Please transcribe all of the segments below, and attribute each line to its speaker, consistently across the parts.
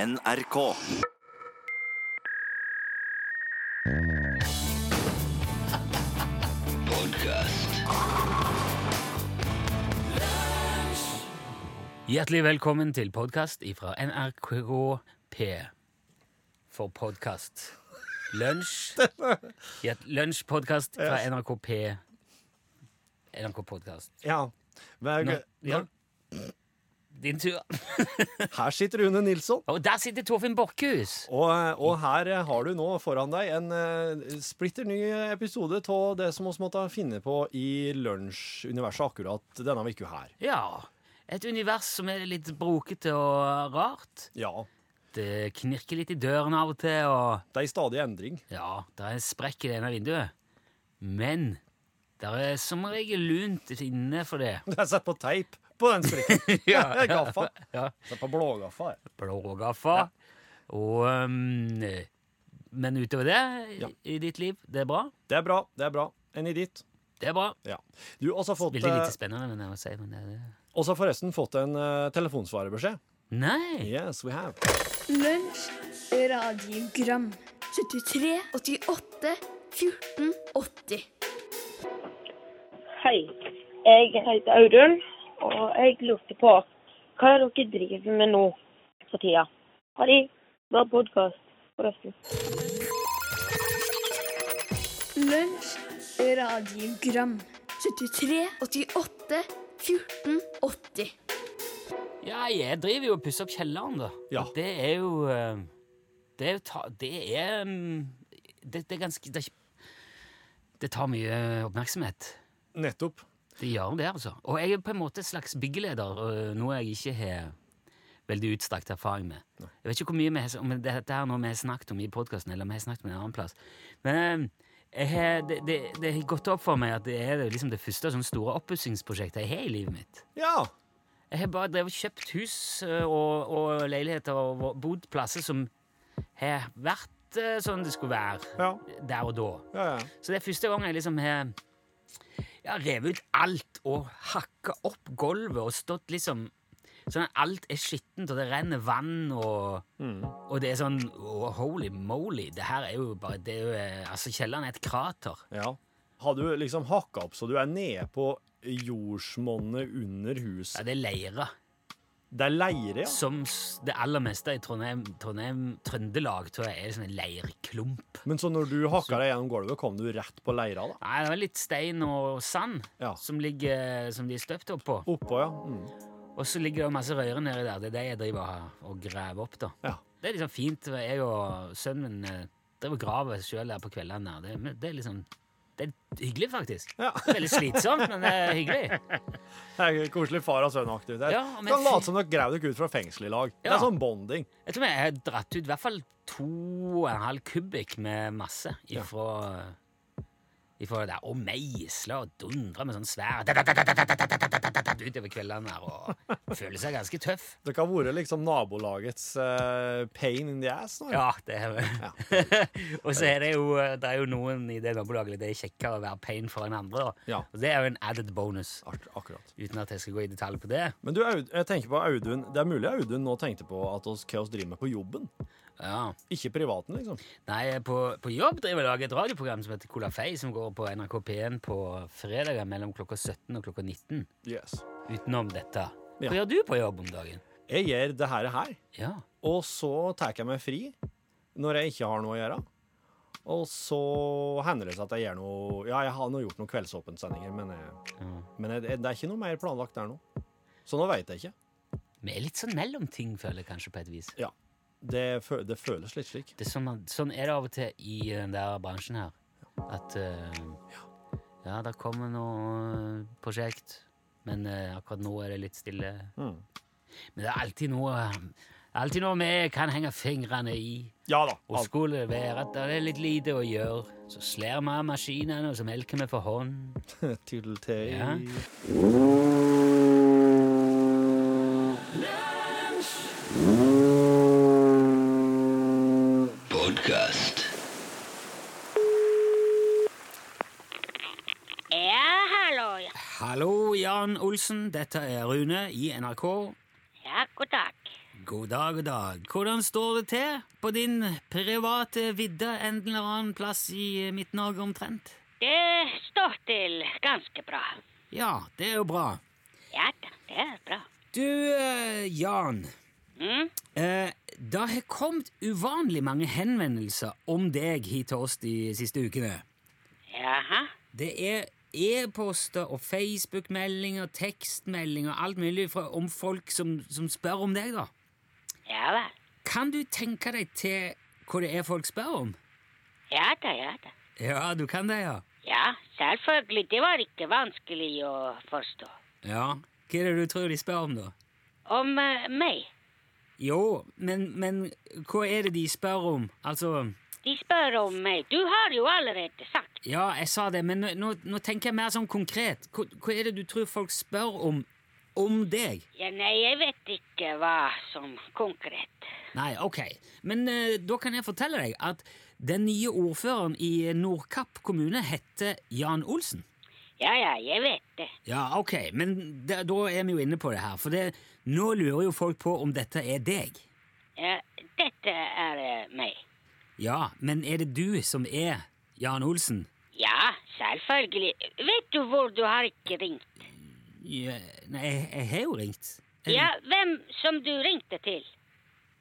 Speaker 1: NRK.
Speaker 2: Hjertelig velkommen til podkast fra NRK P. For podkast. Lunsj. Hjert- Lunsjpodkast fra NRK P. NRK Podkast.
Speaker 3: Ja. Hver,
Speaker 2: Nå-
Speaker 3: nå,
Speaker 2: ja. Din tur.
Speaker 3: Her sitter Rune Nilsson,
Speaker 2: Og der sitter Torfinn Borchhus!
Speaker 3: og, og her eh, har du nå foran deg en eh, splitter ny episode av det som vi måtte finne på i lunsjuniverset akkurat denne uka her.
Speaker 2: Ja. Et univers som er litt brokete og rart.
Speaker 3: Ja.
Speaker 2: Det knirker litt i døren av og til, og
Speaker 3: Det er i stadig endring.
Speaker 2: Ja, det er en sprekk i det ene vinduet. Men det er som regel lunt inne for det.
Speaker 3: Det er satt på teip på den strikken.
Speaker 2: Ja, ja.
Speaker 3: Gaffa.
Speaker 2: Ja.
Speaker 3: Satt på blågaffa. jeg.
Speaker 2: Blågaffa. Og um, Men utover det
Speaker 3: Ja.
Speaker 2: i ditt liv, det er bra?
Speaker 3: Det er bra. Det er bra. En idiot.
Speaker 2: Det er bra.
Speaker 3: Ja. Du har også fått,
Speaker 2: Veldig lite
Speaker 3: eh,
Speaker 2: spennende, men jeg må si men det er det.
Speaker 3: også forresten fått en eh, telefonsvarebeskjed.
Speaker 2: Nei!
Speaker 3: Yes, we have.
Speaker 4: Lunsj, radiogram 73, 88, 14, 80
Speaker 5: Hei. Jeg heter Audun, og jeg lurte på hva er det dere driver med nå for tida? Ha det. Bra podkast, forresten.
Speaker 4: Lunsj, radiogram 73, 88, 14, 80
Speaker 2: Ja, jeg driver jo og pusser opp kjelleren, da.
Speaker 3: Ja.
Speaker 2: Og Det er jo eh, Det er jo ta, Det er mm, det, det er ganske det, er ikke- det tar mye oppmerksomhet.
Speaker 3: Nettopp.
Speaker 2: Det gjør det, altså. Og jeg er på en måte en slags byggeleder, og øh, noe jeg ikke har veldig utstrakt erfaring med. Jeg vet ikke hvor mye vi har, om dette her nå vi har snakket om i podkasten, eller om vi har snakket om en annen plass. Men jeg har, det, det, det har gått opp for meg at det er liksom det første sånn store oppussingsprosjektet jeg har i livet mitt.
Speaker 3: Ja.
Speaker 2: Jeg har bare drevet og kjøpt hus eh, og, og leiligheter og bodd plasser som har vært eh, sånn det skulle være
Speaker 3: Ja.
Speaker 2: der og da.
Speaker 3: Ja, ja.
Speaker 2: Så det er første gang jeg liksom har ja, revet ut alt og hakka opp gulvet og stått liksom Sånn at alt er skittent, og det renner vann, og, og det er sånn å, Holy moly! Det her er jo bare det er jo, eh, Altså, kjelleren er et krater.
Speaker 3: Ja. Har du liksom hakka opp så du er nede på jordsmonnet under
Speaker 2: Ja,
Speaker 3: huset?
Speaker 2: det er leire.
Speaker 3: Det er leire, ja.
Speaker 2: Som s- det aller meste i Trondheim, Trondheim Trøndelag, tror jeg, er liksom en leirklump.
Speaker 3: Men så når du hakka deg gjennom gulvet, kom du rett på leira, da?
Speaker 2: Nei, det var litt stein og sand
Speaker 3: Ja.
Speaker 2: som, ligger, som de er støpt oppå.
Speaker 3: Oppå, ja. Mm.
Speaker 2: Og så ligger det masse røyre nedi der. Det er det jeg driver og graver opp, da.
Speaker 3: Ja.
Speaker 2: Det er liksom fint. Jeg og sønnen min eh, driver og graver sjøl der på kveldene. der. Det, det er liksom Det er hyggelig, faktisk.
Speaker 3: Ja.
Speaker 2: Det er veldig slitsomt, men det er hyggelig.
Speaker 3: Det er Koselig far og sønn-aktig. Det er-
Speaker 2: Ja, men
Speaker 3: Kan
Speaker 2: fy-
Speaker 3: late som dere grev dere ut fra fengsel i lag. Det
Speaker 2: Ja.
Speaker 3: er sånn bonding.
Speaker 2: Jeg tror jeg har dratt ut i hvert fall to og en halv kubikk med masse ifra eh, Ifra det der, Og meisler og dundrer med sånn svær utover kveldene her og føler seg ganske tøff.
Speaker 3: Dere har vært liksom nabolagets eh, pain in the ass nå.
Speaker 2: Ja, det er det. og så er det jo, det er jo noen i det nabolaget det er kjekkere å være pain for enn andre. Da.
Speaker 3: Ja.
Speaker 2: Og det er jo en added bonus,
Speaker 3: Ak- Akkurat.
Speaker 2: uten at jeg skal gå i detalj på det.
Speaker 3: Men du, Aud- jeg tenker på Audun. Det er mulig Audun nå tenkte på at oss, hva oss driver med på jobben.
Speaker 2: Ja.
Speaker 3: Ikke privaten, liksom.
Speaker 2: Nei, på, på jobb driver jeg og lager et radioprogram som heter Colafei, som går på NRK P1 på fredager mellom klokka 17 og klokka 19.
Speaker 3: Yes.
Speaker 2: Utenom dette.
Speaker 3: Ja.
Speaker 2: Hva gjør du på jobb om dagen?
Speaker 3: Jeg gjør det her her.
Speaker 2: Ja.
Speaker 3: Og så tar jeg meg fri når jeg ikke har noe å gjøre. Og så hender det seg at jeg gjør noe Ja, jeg har nå gjort noen kveldsåpensendinger, men, jeg,
Speaker 2: ja.
Speaker 3: men jeg, det er ikke noe mer planlagt der nå. Så nå veit jeg ikke.
Speaker 2: Vi er litt sånn mellom ting, føler jeg kanskje, på et vis.
Speaker 3: Ja. Det, fø- det føles litt slik.
Speaker 2: Det er sånn, sånn er det av og til i eh, den der bransjen her. At eh, ja, det kommer noe eh, prosjekt, men eh, akkurat nå er det litt stille.
Speaker 3: Mm.
Speaker 2: Men det er alltid noe eh, Alltid noe vi kan henge fingrene i.
Speaker 3: Ja da.
Speaker 2: Og skulle det være at det er litt lite å gjøre, så slår vi av maskinene, og så melker vi for hånd.
Speaker 3: Alt til til
Speaker 2: Ja.
Speaker 5: Ja, hallo. Ja,
Speaker 2: Hallo, Jan Olsen. Dette er Rune i NRK.
Speaker 5: ja god dag.
Speaker 2: God dag, god dag. Hvordan står det til på din private vidde en eller annen plass i Midt-Norge omtrent?
Speaker 1: Det står til ganske bra.
Speaker 2: Ja, det er jo bra.
Speaker 1: Ja da, det er bra.
Speaker 2: Du, eh, Jan.
Speaker 1: Mm.
Speaker 2: Eh, det har kommet uvanlig mange henvendelser om deg hit til oss de siste ukene.
Speaker 1: Jaha.
Speaker 2: Det er e-poster og Facebook-meldinger, tekstmeldinger, alt mulig fra, om folk som, som spør om deg, da.
Speaker 1: Ja vel.
Speaker 2: Kan du tenke deg til hva det er folk spør om?
Speaker 1: Ja da, ja da.
Speaker 2: Ja, du kan det, ja.
Speaker 1: Ja, selvfølgelig. Det var ikke vanskelig å forstå.
Speaker 2: Ja, Hva er det du tror de spør om, da?
Speaker 1: Om eh, meg.
Speaker 2: Jo, men, men hva er det de spør om? Altså
Speaker 1: De spør om meg. Du har jo allerede sagt.
Speaker 2: Ja, jeg sa det, men nå, nå, nå tenker jeg mer sånn konkret. Hva, hva er det du tror folk spør om om deg?
Speaker 1: Ja, nei, jeg vet ikke hva som konkret.
Speaker 2: Nei, ok. Men eh, da kan jeg fortelle deg at den nye ordføreren i Nordkapp kommune heter Jan Olsen.
Speaker 1: Ja ja, jeg vet det.
Speaker 2: Ja, ok, men da- da er vi jo inne på det her, for det, nå lurer jo folk på om dette er deg.
Speaker 1: Ja, dette er eh, meg.
Speaker 2: Ja, men er det du som er Jan Olsen?
Speaker 1: Ja, selvfølgelig. Vet du hvor du har ikke ringt?
Speaker 2: Ja, nei, jeg, jeg har jo ringt. Jeg,
Speaker 1: Ja, hvem som du ringte til?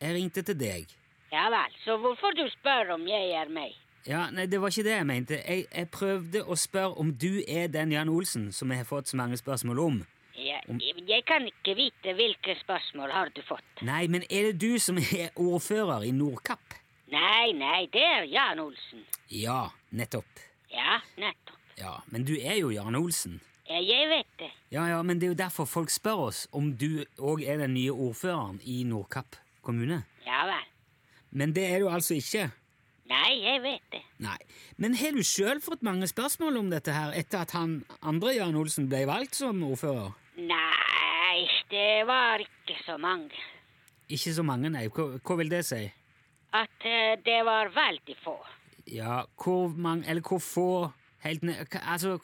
Speaker 2: jeg ringte til deg.
Speaker 1: Ja vel, så hvorfor du spør om jeg er meg?
Speaker 2: Ja, nei, det var ikke det jeg mente. Jeg, jeg prøvde å spørre om du er den Jan Olsen som jeg har fått så mange spørsmål om.
Speaker 1: Jeg, jeg kan ikke vite hvilke spørsmål har du fått.
Speaker 2: Nei, men er det du som er ordfører i Nordkapp?
Speaker 1: Nei, nei, det er Jan Olsen.
Speaker 2: Ja, nettopp.
Speaker 1: Ja, nettopp.
Speaker 2: Ja, men du er jo Jan Olsen.
Speaker 1: Ja, Jeg vet det.
Speaker 2: Ja, ja, men det er jo derfor folk spør oss om du òg er den nye ordføreren i Nordkapp kommune.
Speaker 1: Ja vel.
Speaker 2: Men det er du altså ikke.
Speaker 1: Nei, jeg vet det.
Speaker 2: Nei. Men har du sjøl fått mange spørsmål om dette her etter at han andre Jan Olsen ble valgt som ordfører?
Speaker 1: Nei, det var ikke så mange.
Speaker 2: Ikke så mange, nei. Hva, hva vil det si?
Speaker 1: At eh, det var veldig få.
Speaker 2: Ja, hvor mange Eller hvor få helt ned, hva- Altså,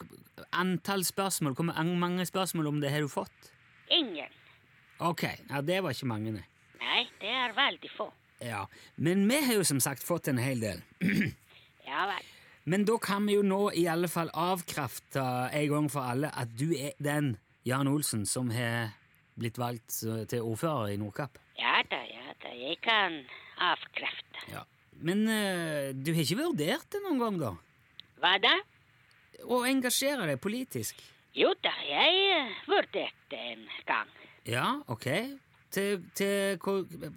Speaker 2: antall spørsmål Hvor mange- mange spørsmål om det har du fått?
Speaker 1: Ingen.
Speaker 2: Ok, ja, det var ikke mange, nei.
Speaker 1: Nei, det er veldig få.
Speaker 2: Ja, Men vi har jo som sagt fått en hel del.
Speaker 1: Ja vel.
Speaker 2: Men da kan vi jo nå i alle fall avkrefte en gang for alle at du er den Jan Olsen som har blitt valgt eh, til ordfører i Nordkapp.
Speaker 1: Ja da, ja da, jeg kan avkrefte.
Speaker 2: Ja. Men eh, du har ikke vurdert det noen gang, da?
Speaker 1: Hva da?
Speaker 2: Å engasjere deg politisk?
Speaker 1: Jo da, jeg eh, vurderte en gang.
Speaker 2: Ja, ok. Til, til hva,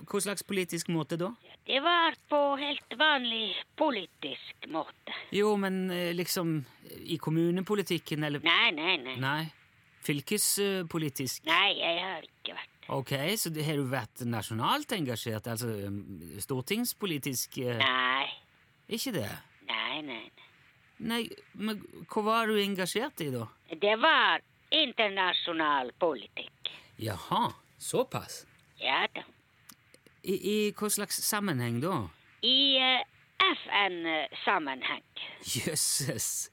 Speaker 2: hva slags politisk måte da?
Speaker 1: Det var på helt vanlig politisk måte.
Speaker 2: Jo, men eh, liksom i kommunepolitikken, eller
Speaker 1: Nei, nei, nei.
Speaker 2: Nei. Fylkespolitisk.
Speaker 1: Nei, jeg har ikke vært
Speaker 2: Ok, så det- har du vært nasjonalt engasjert? Altså eh, stortingspolitisk? eh,
Speaker 1: Nei,
Speaker 2: Ikke det?
Speaker 1: nei, nei. nei.
Speaker 2: Nei, men hva var du engasjert i, da?
Speaker 1: Det var internasjonal politikk.
Speaker 2: Jaha, såpass?
Speaker 1: Ja da.
Speaker 2: I, i hva slags sammenheng da?
Speaker 1: I eh, FN-sammenheng.
Speaker 2: Jøsses.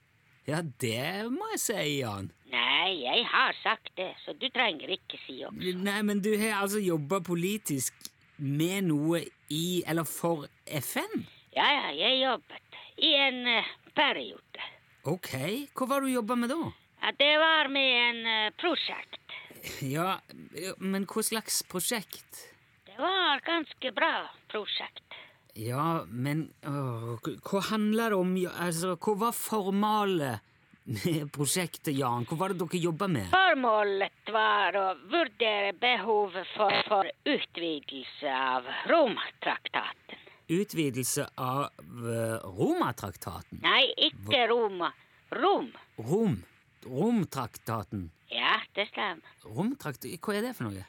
Speaker 2: Ja, det må jeg si, Jan.
Speaker 1: Nei, jeg har sagt det, så du trenger ikke si opp.
Speaker 2: Nei, men du har altså jobba politisk med noe i eller for FN?
Speaker 1: Ja, ja, jeg jobbet i en eh, periode.
Speaker 2: Ok, hva var det du jobba med da?
Speaker 1: Ja, Det var med en eh, prosjekt.
Speaker 2: Ja, men hva slags prosjekt?
Speaker 1: Det var ganske bra prosjekt.
Speaker 2: Ja, men åh, k- Hva handla det om? ja, Altså, hva var formålet med prosjektet, Jan? Hva var det dere jobba med?
Speaker 1: Formålet var å vurdere behovet for, for utvidelse av Romtraktaten.
Speaker 2: Utvidelse av eh, Romatraktaten?
Speaker 1: Nei, ikke Roma. Rom.
Speaker 2: Rom? Romtraktaten?
Speaker 1: Ja, det stemmer.
Speaker 2: Romtrakt... Hva er det for noe?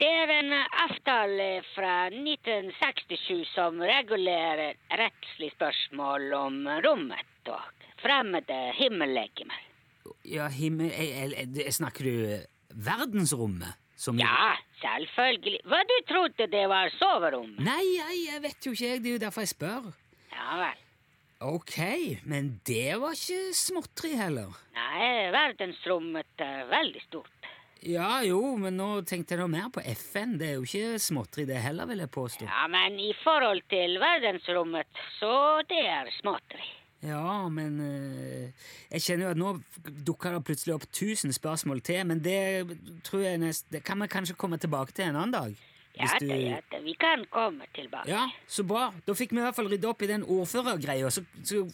Speaker 1: Det er en avtale fra 1967 som regulerer rettslig spørsmål om rommet og fremmede himmellegemer.
Speaker 2: Ja, himmel... eh, eh, eh, Snakker du verdensrommet? Som
Speaker 1: Ja, selvfølgelig. Hva du trodde det var soverommet?
Speaker 2: Nei, nei, jeg vet jo ikke, jeg. Det er jo derfor jeg spør.
Speaker 1: Ja vel.
Speaker 2: Ok, men det var ikke småtteri heller.
Speaker 1: Nei, verdensrommet er veldig stort.
Speaker 2: Ja, jo, men nå tenkte jeg noe mer på FN. Det er jo ikke småtteri det heller, vil jeg påstå.
Speaker 1: Ja, men i forhold til verdensrommet, så det er småtteri.
Speaker 2: Ja, men eh, jeg kjenner jo at nå dukker det plutselig opp tusen spørsmål til, men det tror jeg nest, det kan vi kanskje komme tilbake til en annen dag.
Speaker 1: Ja, da, ja, da, vi kan komme tilbake.
Speaker 2: Ja, så bra. Da fikk vi i hvert fall rydde opp i den ordførergreia, så, så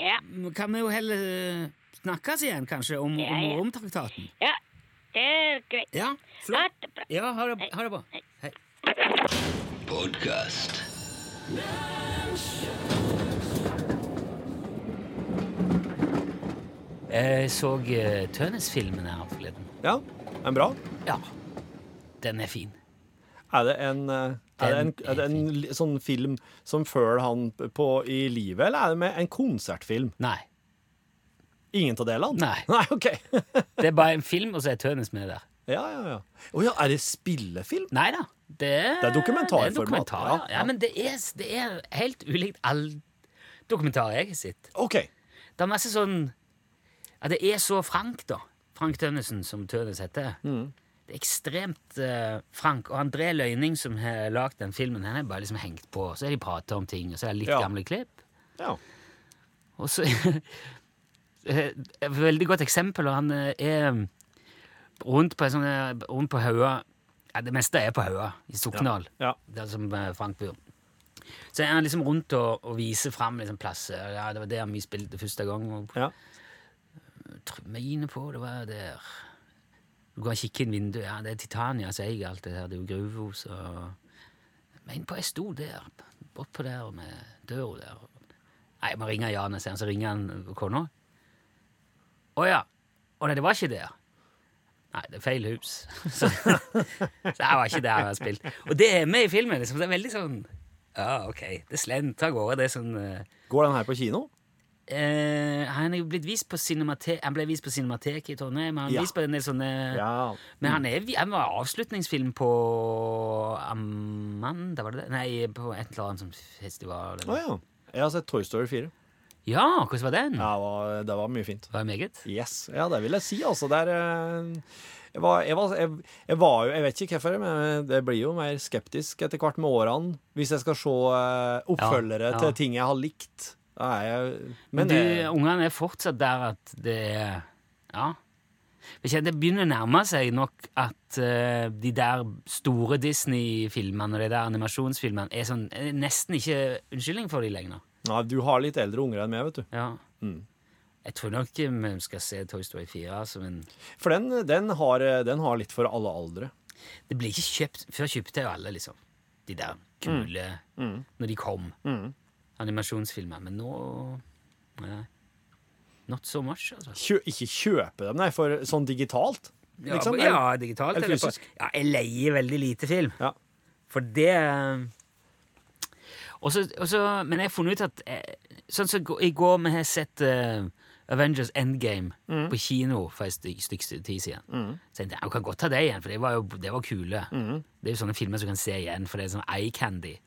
Speaker 1: Ja,
Speaker 2: kan vi jo heller eh, snakkes igjen, kanskje, om,
Speaker 1: Ja, ja.
Speaker 2: om Romtraktaten.
Speaker 1: ja, det er greit.
Speaker 2: Ja,
Speaker 1: Ha
Speaker 2: flott.
Speaker 1: det bra.
Speaker 2: Ja, ha det, ha det bra. Hei.
Speaker 6: Podcast.
Speaker 2: Jeg så eh, Tønes-filmen her forleden.
Speaker 3: Ja, en bra.
Speaker 2: Ja, den er fin.
Speaker 3: Er det en, eh, er det en, er det en li- sånn film som følger han på i livet, eller er det med en konsertfilm?
Speaker 2: Nei,
Speaker 3: Ingen av delene?
Speaker 2: Nei.
Speaker 3: Nei, OK.
Speaker 2: det er bare en film, og så er Tønes med der.
Speaker 3: Ja, ja, ja. Å ja, er det spillefilm?
Speaker 2: Nei da. Det er,
Speaker 3: Det er
Speaker 2: det
Speaker 3: dokumentarformat,
Speaker 2: er dokumentar, ja.
Speaker 3: ja,
Speaker 2: ja.
Speaker 3: ja.
Speaker 2: men det er, det er helt ulikt all dokumentar jeg har sett.
Speaker 3: OK.
Speaker 2: Det er masse sånn ja, Det er så Frank, da. Frank Tønnesen, som Tønnes heter.
Speaker 3: Mm.
Speaker 2: Det er ekstremt eh, Frank. Og André Løyning, som har lagd den filmen, han er bare liksom hengt på. Så er de prater om ting, og så er det litt
Speaker 3: Ja.
Speaker 2: gamle klipp.
Speaker 3: Ja.
Speaker 2: Og så eh, Et veldig godt eksempel, og han eh, er rundt på, en sånn, eh, rundt på Haua ja, Det meste er på Haua, i Sokndal,
Speaker 3: Ja.
Speaker 2: der som eh, Frank bor. Så er han liksom rundt og, og viser fram liksom plasser. Ja, det var der vi spilte første gang. Og
Speaker 3: ja.
Speaker 2: Trumine på, det var der. Du kan kikke inn vinduet. Ja, det er Titania som eier alt det her. Det er jo Gruvehus og Men på jeg sto der, bortpå der med døra der. Nei, jeg må ringe Jan, jeg sier han, så ringer han kona. Å ja. Å nei, det var ikke der. Nei, det er feil hus. Så, så jeg var ikke der jeg hadde spilt. Og det er med i filmen. liksom. Det er veldig sånn Ja, OK. Det slentrer av gårde. Det er sånn eh,
Speaker 3: Går den her på kino?
Speaker 2: Eh, han er jo blitt vist på cinemate Han ble vist på Cinemateket i Trondheim. Han er
Speaker 3: Ja.
Speaker 2: vist på en del sånne
Speaker 3: Ja. Mm.
Speaker 2: Men han, er, vi- han var avslutningsfilm på Amanda, var det det? Nei, på et eller annet som festival.
Speaker 3: Å
Speaker 2: Eller.
Speaker 3: ja. Jeg har sett Toy Story 4.
Speaker 2: Ja, hvordan var den?
Speaker 3: Ja, det var, det var mye fint.
Speaker 2: Var det meget?
Speaker 3: Yes. Ja, det vil jeg si, altså. Det er eh, jeg var, jeg, var, jeg, jeg var jo Jeg vet ikke hvorfor, men det blir jo mer skeptisk etter hvert med årene hvis jeg skal se eh, oppfølgere
Speaker 2: Ja, ja.
Speaker 3: til ting jeg har likt. Da er jeg,
Speaker 2: Men
Speaker 3: men eh,
Speaker 2: du,
Speaker 3: jeg,
Speaker 2: ungene er fortsatt der at det er Ja. Jeg kjenner Det begynner å nærme seg nok at eh, de der store Disney-filmene og de der animasjonsfilmene er sånn er nesten ikke unnskyldning for de lenger.
Speaker 3: nei, du har litt eldre unger enn meg, vet du.
Speaker 2: Ja. Jeg tror nok eh, vi skal se Toy Story 4. Altså, men
Speaker 3: For den, den, har, eh, den har litt for alle aldre.
Speaker 2: det ble ikke kjøpt. Før kjøpte jo alle liksom. de der kule når de kom. Animasjonsfilmer. Men nå nei. Not so much, altså.
Speaker 3: Kjø, ikke kjøpe dem, nei, for sånn digitalt.
Speaker 2: Ja,
Speaker 3: Liksom,
Speaker 2: ja digitalt.
Speaker 3: eller
Speaker 2: eller på-
Speaker 3: fysisk?
Speaker 2: Ja, jeg leier veldig lite film.
Speaker 3: Ja.
Speaker 2: For det eh, Og så- og så- Men jeg har funnet ut at eh, Sånn som gå- i går vi har sett eh, Avengers Endgame på kino for et stykke stykke tid siden. Så jeg tenkte, ja, jeg kan godt ta det igjen, for det var jo det var kule. Det er jo sånne filmer som du kan se igjen, for det er sånn eye candy.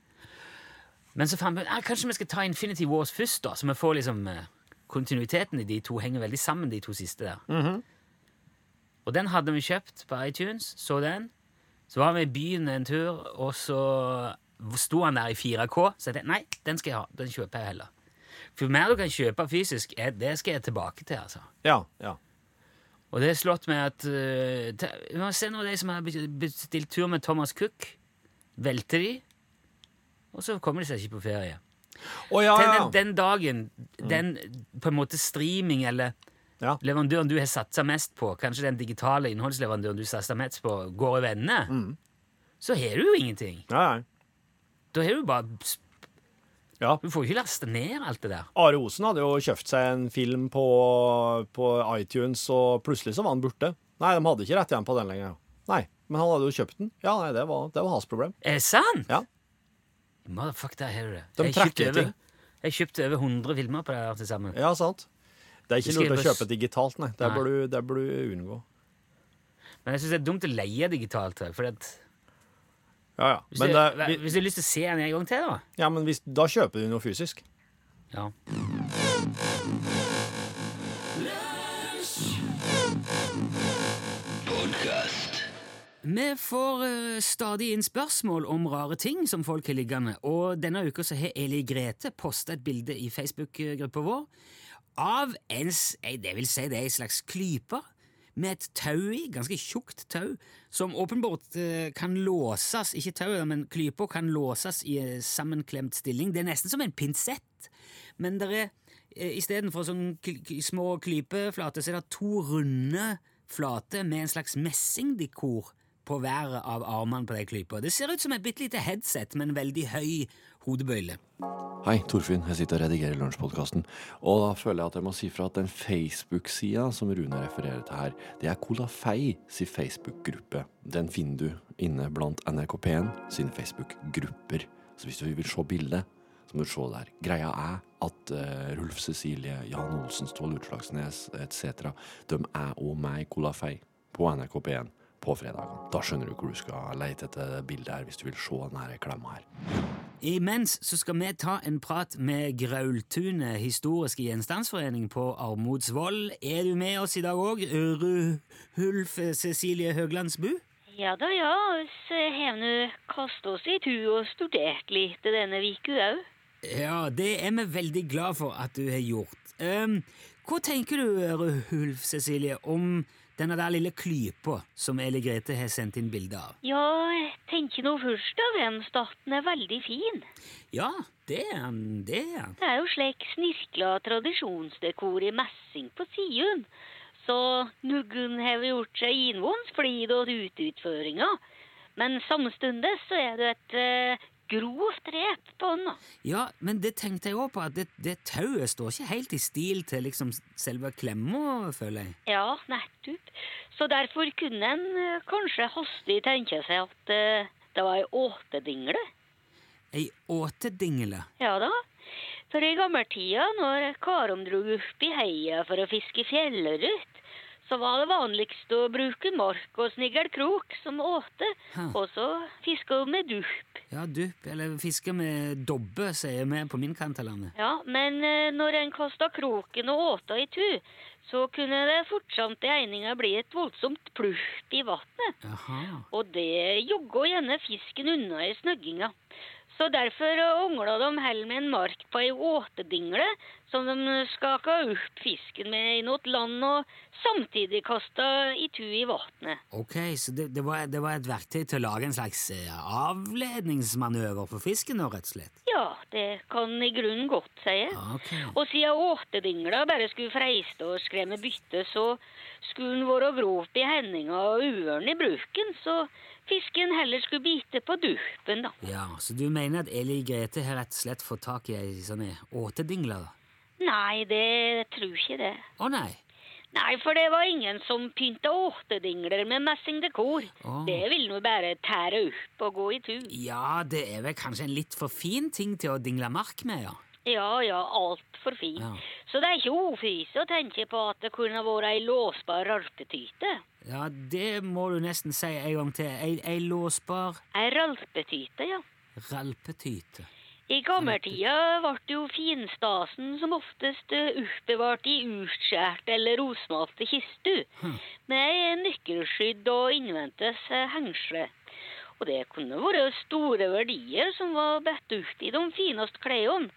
Speaker 2: Men så fant vi ut ja, kanskje vi skal ta Infinity Wars først, da, så vi får liksom eh, Kontinuiteten i de to henger veldig sammen, de to siste der. Og den hadde vi kjøpt på iTunes, så den. Så var vi i byen en tur, og så sto han der i 4K. Så jeg tenkte nei, den skal jeg ha. Den kjøper jeg heller. For jo mer du kan kjøpe fysisk, er- det skal jeg tilbake til. altså.
Speaker 3: Ja, ja.
Speaker 2: Og det har slått meg at eh, te- Vi må se noen av de som har bestilt tur med Thomas Cook. Velter de, og så kommer de seg ikke på ferie.
Speaker 3: Å Ah, ja,
Speaker 2: Tenk
Speaker 3: ja.
Speaker 2: Den, den dagen den på en måte streaming eller
Speaker 3: Ja.
Speaker 2: leverandøren du har satsa mest på, kanskje den digitale innholdsleverandøren du satsa mest på, går i vende, så har du jo ingenting.
Speaker 3: ja, ja.
Speaker 2: Da har du bare
Speaker 3: ja.
Speaker 2: Du får jo ikke lasta ned alt det der.
Speaker 3: Are Osen hadde jo kjøpt seg en film på, på iTunes, og plutselig så var han borte. Nei, de hadde ikke rett igjen på den lenger. Nei, men han hadde jo kjøpt den. Ja, nei, det var, det var hans problem.
Speaker 2: Er det sant?
Speaker 3: Ja.
Speaker 2: Motherfuck, der har du det.
Speaker 3: De
Speaker 2: Jeg kjøpte
Speaker 3: trekker
Speaker 2: over-
Speaker 3: ting.
Speaker 2: Jeg kjøpte over 100 filmer på det her til sammen.
Speaker 3: Ja, sant. Det er ikke
Speaker 2: Vi skal
Speaker 3: lurt å
Speaker 2: bare s-
Speaker 3: kjøpe digitalt, nei. Det
Speaker 2: Nei.
Speaker 3: bør du, det bør du unngå.
Speaker 2: Men jeg syns det er dumt å leie digitalt. da, Fordi at
Speaker 3: Ja, ja.
Speaker 2: hvis,
Speaker 3: Men,
Speaker 2: du,
Speaker 3: det, vi,
Speaker 2: hvis du har lyst til å se den en gang til, da
Speaker 3: ja, men hvis, da kjøper du noe fysisk.
Speaker 2: Ja.
Speaker 6: Podcast.
Speaker 2: Vi får eh, stadig inn spørsmål om rare ting som folk har liggende, og denne uka så har Eli Grete posta et bilde i Facebook-gruppa vår av en, s- eh, det vil si det er en slags klype med et tau i, ganske tjukt tau, som åpenbart eh, kan låses, ikke tauet, men klypa kan låses i eh, sammenklemt stilling. Det er nesten som en pinsett, men det er eh, istedenfor sånn kl kl- små klypeflater, så er det to runde flater med en slags messingdekor på hver av armene på de klypa. Det ser ut som et bitte lite headset med en veldig høy hodebøyle.
Speaker 6: Hei, Torfinn. Jeg sitter og redigerer lunsjpodkasten. Og da føler jeg at jeg må si fra at den Facebook-sida som Rune refererer til her, det er Kolafei sin Facebook-gruppe. Den finner du inne blant NRK P1 sine Facebook-grupper. Så hvis du vil se bildet, så må du se der. Greia er at eh, Rulf Cecilie, Jan Olsen, Ståle Utslagsnes etc., de er òg meg, Kolafei, på NRK P1 på fredagen. Da skjønner du hvor du skal leite etter det bildet her hvis du vil se denne klemma her.
Speaker 2: Imens så skal vi ta en prat med Graultunet historiske gjenstandsforening på Armodsvoll. Er du med oss i dag òg, Ruhulf Cecilie Høglandsbu?
Speaker 1: Ja da, ja. Vi har nå kastet oss i tu og studert litt denne uka òg.
Speaker 2: Ja, det er vi veldig glad for at du har gjort. Ehm, hva tenker du, Ruhulf Cecilie, om denne der lille klypa som Eli Grete har sendt inn bilde av?
Speaker 1: Ja, jeg tenker nå først og fremst at den er veldig fin.
Speaker 2: Ja, det er han, det er han.
Speaker 1: Det er jo slik snirkla tradisjonsdekor i messing på siden. Så nuggen har gjort seg innvåns flid og ruteutføringa. Men samtidig så er det et eh, grovt rep på den. da.
Speaker 2: Ja, men det tenkte jeg òg på, at det, det tauet står ikke helt i stil til liksom selve klemma, føler jeg.
Speaker 1: Ja, nettopp. Så derfor kunne en eh, kanskje hastig tenke seg at eh, det var ei åtedingle.
Speaker 2: Ei åtedingle.
Speaker 1: Ja da. For i gammeltida, når karene dro opp i heia for å fiske fjellørret, så var det vanligst å bruke mark og sniggelkrok som åte,
Speaker 2: Hæ.
Speaker 1: og så fiske med dupp.
Speaker 2: Ja, dupp, eller fiske med dobbe, sier vi på min kant av landet.
Speaker 1: Ja, men eh, når en kasta kroken og åta i tu, så kunne det fortsatt i egninga bli et voldsomt plupp i vannet.
Speaker 2: Jaha.
Speaker 1: Og det jogga gjerne fisken unna i snøgginga. Så derfor eh, ongla de heller med en mark på ei åtedingle som de skaka opp fisken med i noe land, og samtidig kasta i tu i vannet.
Speaker 2: Ok, så det, det, var, det var et verktøy til å lage en slags eh, avledningsmanøver for fisken, da, rett og slett?
Speaker 1: Ja, det kan i grunnen godt sies.
Speaker 2: Ok.
Speaker 1: Og siden åtedingla bare skulle freiste og skremme bytte, så skulle den være grovt i hendinga og uørn i bruken, så fisken heller skulle bite på duppen, da.
Speaker 2: Ja, så du mener at Eli Grete har rett og slett fått tak i ei sånn eh, åtedingle? da?
Speaker 1: Nei, det tror ikke det.
Speaker 2: Å nei.
Speaker 1: Nei, for det var ingen som pynta åttedingler med messingdekor.
Speaker 2: Åh.
Speaker 1: Det ville nå bare tære opp og gå i tur.
Speaker 2: Ja, det er vel kanskje en litt for fin ting til å dingle mark med, ja.
Speaker 1: Ja, ja, altfor fint.
Speaker 2: Ja.
Speaker 1: Så det er ikke ofise å tenke på at det kunne vært ei låsbar ralpetyte.
Speaker 2: Ja, det må du nesten si en gang til. Ei, ei låsbar
Speaker 1: Ei ralpetyte, ja.
Speaker 2: ralpetyte.
Speaker 1: I gammeltida ble jo finstasen som oftest eh, oppbevart i utskjært eller rosmalte kister, med nøkkelskydd og innvendtes eh, hengsle. Og det kunne vært store verdier som var bedt ut i de fineste klærne.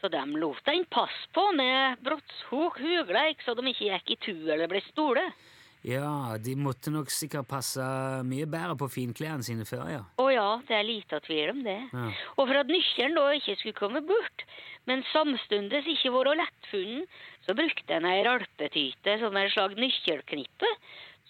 Speaker 1: Så de lot den passe på med brottshok hugleik, så de ikke gikk i tu eller ble stole.
Speaker 2: Ja, de måtte nok sikkert passe mye bedre på finklærne sine før, ja.
Speaker 1: Å ja, det er lite tvil om det.
Speaker 2: Ja.
Speaker 1: Og for at nøkkelen da ikke skulle komme bort, men samtidig ikke være lettfunnen, så brukte en ei ralpetyte som en slags nøkkelknippe,